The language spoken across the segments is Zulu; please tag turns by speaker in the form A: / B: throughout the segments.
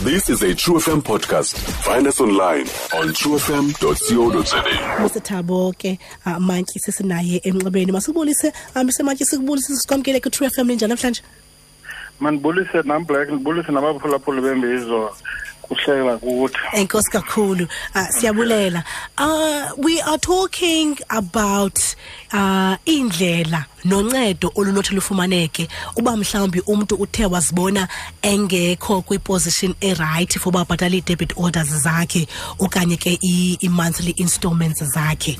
A: This is a True FM podcast. Find us online on truefm.co.za.
B: musithabo ke ah, mantyi sesinaye emnxebeni masibulise amsematyi sikubulise sikwamkele ke true fm linjani namhlanje
C: mandibulise nam black ndibulise nabaphulaphuli bembizo kuhleka kuthi
B: enkosi kakhulu Ah, siyabulela uh, we are talking about uh, indlela noncedo olunothi lufumaneke uba mhlawumbi umntu uthe wazibona engekho kwiposition erayithi for uba abhatale ii-debit orders zakhe okanye ke i- i-monthly installments zakhe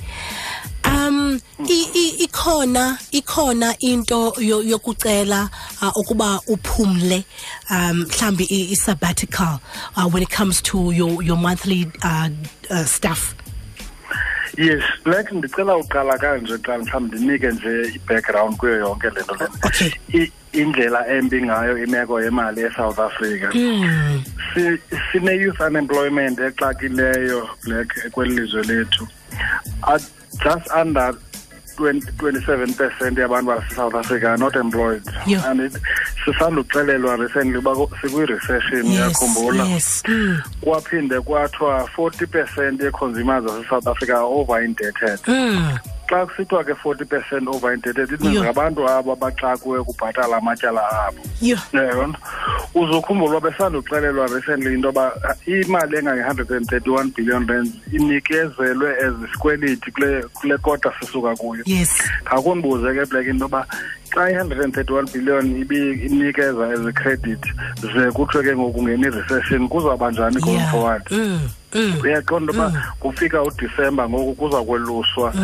B: um i- i- ikhona ikhona into yo- yokucela uh, ukuba uphumle um mhlambi i- i-sabbatical uh, when it comes to your, your monthly uh, uh, stuff
C: yes black ndicela uqala kanje qala mhlawumbi ndinike nje i-background kuyo yonke le nto
B: Okay.
C: le indlela embi ngayo imeko yemali esouth africa
B: Hmm.
C: Si- sine-youth unemployment exakileyo black kweli lizwe lethu At- just under 20 27 percent yabantu basesouth africa are not employed
B: Yeah.
C: and it- sisanduxelelwa recently uba ku- sikwi-recession uyakhumbula
B: yes mm.
C: kwaphinde kwathiwa 40 percent yee-consumers zasesouth africa are over indebted
B: Mm.
C: xa kusithiwa ke 40 percent over indebted
B: Yho.
C: itmeans ngabantu abo abaxakiwe kubhatala amatyala abo
B: yeah
C: yeyona uzokhumbula uba besanduxelelwa recently into yoba uh, imali engange-hundred and thirty-one billion rands inikezelwe as isikweliti kule kule kota sisuka kuyo
B: yes
C: ngakunibuze ke black into yoba xa i-hundred and thirty-one billion ibinikeza as credit ze kuthiwe ke ngoku ngeni-recession kuzawuba njani going
B: yeah
C: forward
B: mm. Mm.
C: uyaqonda uba kufika udisemba ngoku kuza kweluswa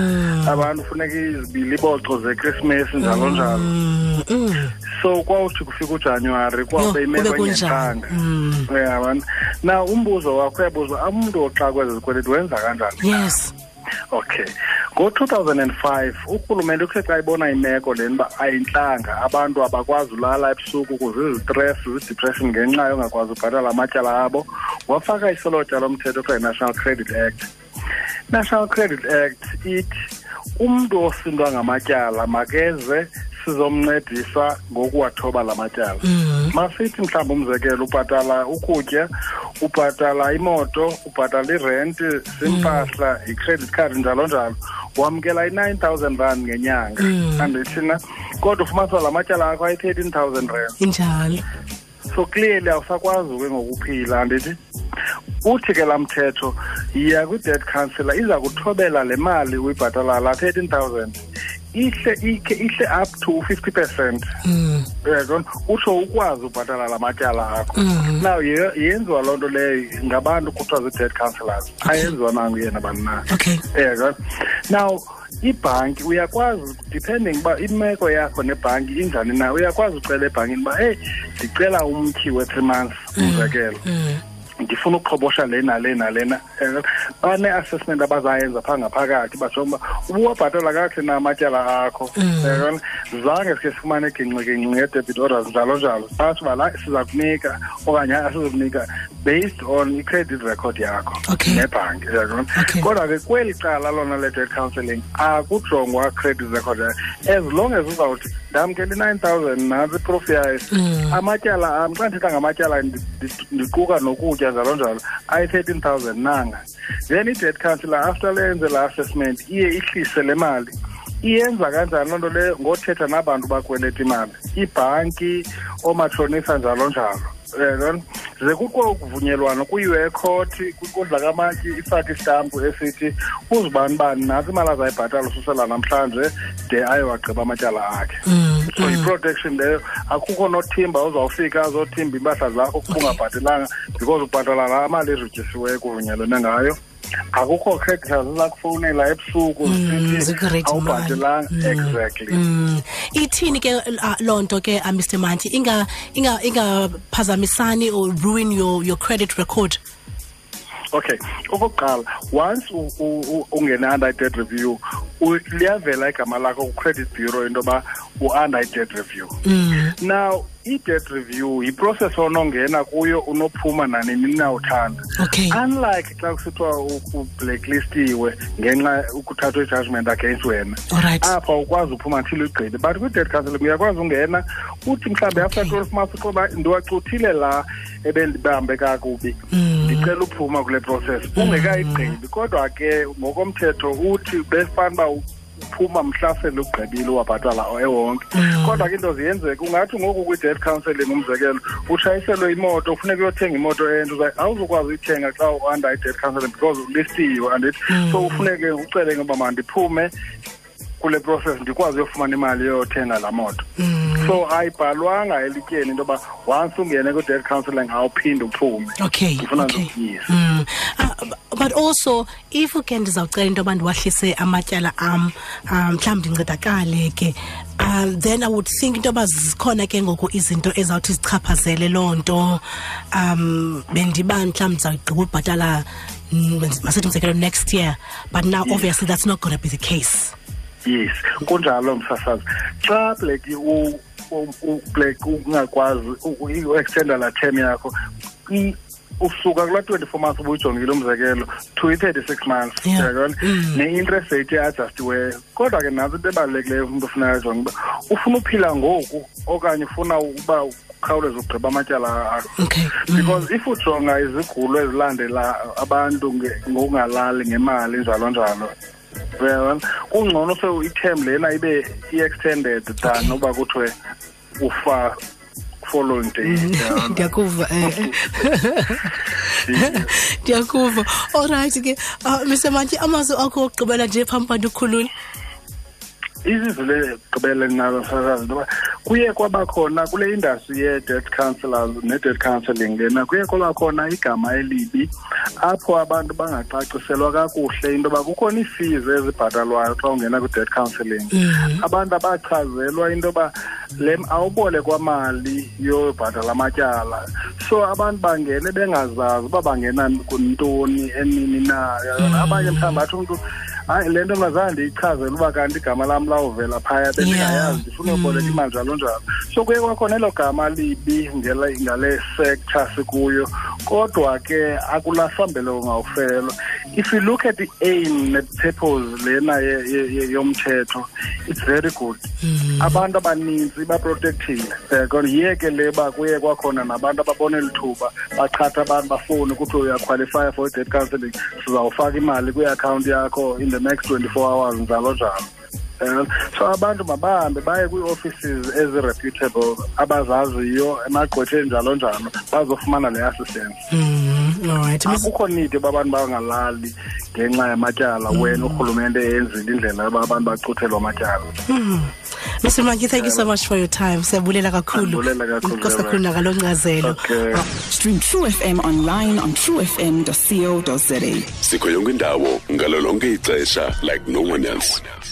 C: abantu funeka izbiliboco zechristmas njalo njalo
B: Mm. Mm. Mm.
C: so kwawuthi kufika ujanuwari
B: Yho,
C: kwabe
B: kube
C: imeko
B: kunjalo.
C: engentlanga
B: Mm.
C: uyabona na umbuzo wakho uyabuza amntu oxa kwezi zikweleti wenza kanjani
B: yes
C: okay ngo-2005 urhulumente uthe xa ibona imeko leni uba ayintlanga abantu abakwazi ulala ebusuku kuzizitress zidepression ngenxa yongakwazi ubhatala amatyala abo wafaka isolotya lomthetho kuthiwa yi-national credit act national credit act ithi umntu osindwa ngamatyala makeze sizomncedisa ngokuwathoba la matyala masithi mhlawumbi umzekelo ubhatala ukutya ubhatala imoto ubhatala irenti ziimpahla i-credit card njalo njalo wamkela i-nine thousand rand ngenyanga andithina kodwa ufumanisa la matyala akho ayi-thirteen thousand rand
B: injalo
C: so clearly awusakwazi ke ngokuphila andithi uthi ke laa mthetho yiya kwi-debt councilor iza kuthobela le mali uyibhatala la 13000 ihle ike ihle up to 50 percent uyaqona utsho ukwazi ubhatala la matyala akho now ye- yenziwa loo nto leyo ngabantu kuthiwa zii-debt councilors ayenziwa nanguyena bani na
B: okay
C: Eka. Now ibhanki uyakwazi depending uba imeko yakho nebhanki injani na uyakwazi ucela ebhankini uba hey ndicela umtyhi we-three months umzekelo ndifuna ukuqhobosha le nale nalena Eka. bane-assessment abazayenza phaa ngaphakathi bajonga uba ubuwabhatala kakuhle na amatyala akho Eka. zange sikhe sifumane gingxigingxi nge-debit orders njalo njalo batsho uba la siza kunika okanye asizukunika based on i-credit record yakho
B: Okay.
C: nebhanki Eka.
B: Okay.
C: kodwa ke kweli cala lona le-debt counselling akujongwa credit record yayo. as long as uzawuthi ndamkela i-nine thousand nantsi iprof yayo amatyala am xa ndithetha ngamatyala ndi- ndi- ndiquka nokutya njalo njalo ayi-thirteen thousand nanga then i-debt counselor after leyenze la assessment iye ihlise le mali iyenza kanjani loo nto leyo ngothetha nabantu bakweleta imali ibhanki oomatshonisa njalo njalo uyayibona ze kukho ukuvunyelwano kwiyiwe court kwinkundla kamatyi ifake isitampu esithi uzibani bani nazi imali azayibhatala ususela namhlanje de ayewagqiba amatyala akhe so yi-protection leyo akukho nothimba uzawufika azothimba iimpahla zakho kungabhatelanga because ubhatala laa mali erijisiweyo kuvunyelwene ngayo akukho creditors izakufowunela ebusuku
B: zikurate
C: zisithi
B: Mm, imali.
C: awubhatelanga exactly
B: Mm. ithini ke uh, loo nto ke uh, mr manti ingaphazamisani inga, inga or ruin your, your credit record
C: okay okokuqala once u- u- u- ungene-under dead review u- liyavela igama lakho kwi-credit bureau into yoba u-under dead review
B: Mm.
C: now i-dead review yiprocess onongena kuyo unophuma nanini na uthanda
B: Okay.
C: Ah. unlike xa kusithiwa u- ublacklistiwe ngenxa ukuthathwa i-judgment against wena
B: Alright.
C: apha ukwazi uphuma until ugqibe but kwi-dead counseling uyakwazi ungena uthi mhlawumbi after
B: Okay.
C: twelve months uxoba ndiwacuthile la ebendibambe kakubi ndicela uphuma kule process ungekayigqibi kodwa ke ngokomthetho uthi befana uba uphuma mhlasele ugqibile wabhatala ewonke kodwa ke into ziyenzeka ungathi ngoku kwi-dead counseling umzekelo utshayiselwe imoto kufuneka uyothenga imoto entsha uza- awuzukwazi uyithenga xa u-under i-dead counseling because ulistiwe andithi so ufuneke ucele ngoba mandiphume kule process ndikwazi uyofumana imali yothenga laa moto so ayibhalwanga elityeni into yoba once ungene kwi-dead counseling awuphinde uphume
B: okay
C: ndifuna nje
B: Oh, okay
C: ukuyisa
B: Mm. Ah, bu- but also if ke ndizawucela into yoba ndiwahlise amatyala am um mhlawumbi ndincedakale ke um then i would think into yoba zikhona ke ngoku izinto ezawuthi zichaphazele loo nto um bendiba mhlawumbi ndizawugqiba ubhatala mm, masithi umzekelo next year but now obviously that's not gonna be the case
C: yes kunjalo msasazi xa black u- u- u- black ungakwazi uextenda laa term yakho i- usuka kulaa twenty-four months ubuyijongile umzekelo to i-thirty-six months
B: Yeah.
C: uyabona ne-interest rate eadjustiweyo kodwa ke nantso into ebalulekileyo umntu ofuneka jonga uba ufuna uphila ngoku okanye ufuna uba ukhawuleze ugqiba amatyala akho
B: okay
C: because if ujonga izigulo ezilandela abantu nge- ngokungalali ngemali njalo njalo uyabona kungcono se item lena ibe i-extended than uba kuthiwe ufa following day
B: Mm-hmm.
C: uyabona?
B: ndiyakuva eh. ndiyakuva olrayithi ke Ah, mr mantyi amazwi akho okugqibela nje phambi kwanto ukhulule
C: izizwe legqibele nalo sasazi intoba kuye kwaba khona kule industry ye-debt counsellors ne-debt counselling lena kuye kwaba khona igama elibi apho abantu bangacaciselwa kakuhle into yoba kukhona ii-fees ezibhatalwayo xa ungena kwi-debt counselling abantu abachazelwa into yoba le awubole kwamali yobhatala amatyala so abantu bangene bengazazi uba bangena kuntoni enini na abanye mhlawumbi athi umntu hayi le nto mazange ndiyichazele uba kanti igama lam lawuvela phaya bendingayazi ndifuna uboleka imali njalo njalo so kuye kwakhona elo gama libi ngele- ngale sector sikuyo kodwa ke akulahambele ungawufelwa if you look at the aim ne-purpose lena ye- ye- ye- yomthetho it's very good abantu abaninzi baprotectile um yeke le uba kuye kwakhona nabantu ababona eli thuba bachatha abantu bafuni ukuthi uyakhwalifya for i-debt counselling sizawufaka imali kwiakhawunti yakho in the next twenty-four hours njalo njalo Eh, so abantu mabahambe baye kwii-offices ezi-reputable abazaziyo emagqwetheni njalo njalo bazofumana le assistance
B: Mm, all right. Miss-
C: akukho need uba abantu bangalali ngenxa yamatyala wena urhulumente eyenzile indlela yoba abantu bachuthelwa amatyala
B: Mr. Mantyi, thank you so much for your time. Siyabulela kakhulu.
C: Ndiyabulela kakhulu,
B: Inkosi kakhulu nakalo nkcazelo.
C: Okay.
D: Stream True FM online on truefm.co.za.
A: sikho yonke indawo ngalo lonke ixesha like no one else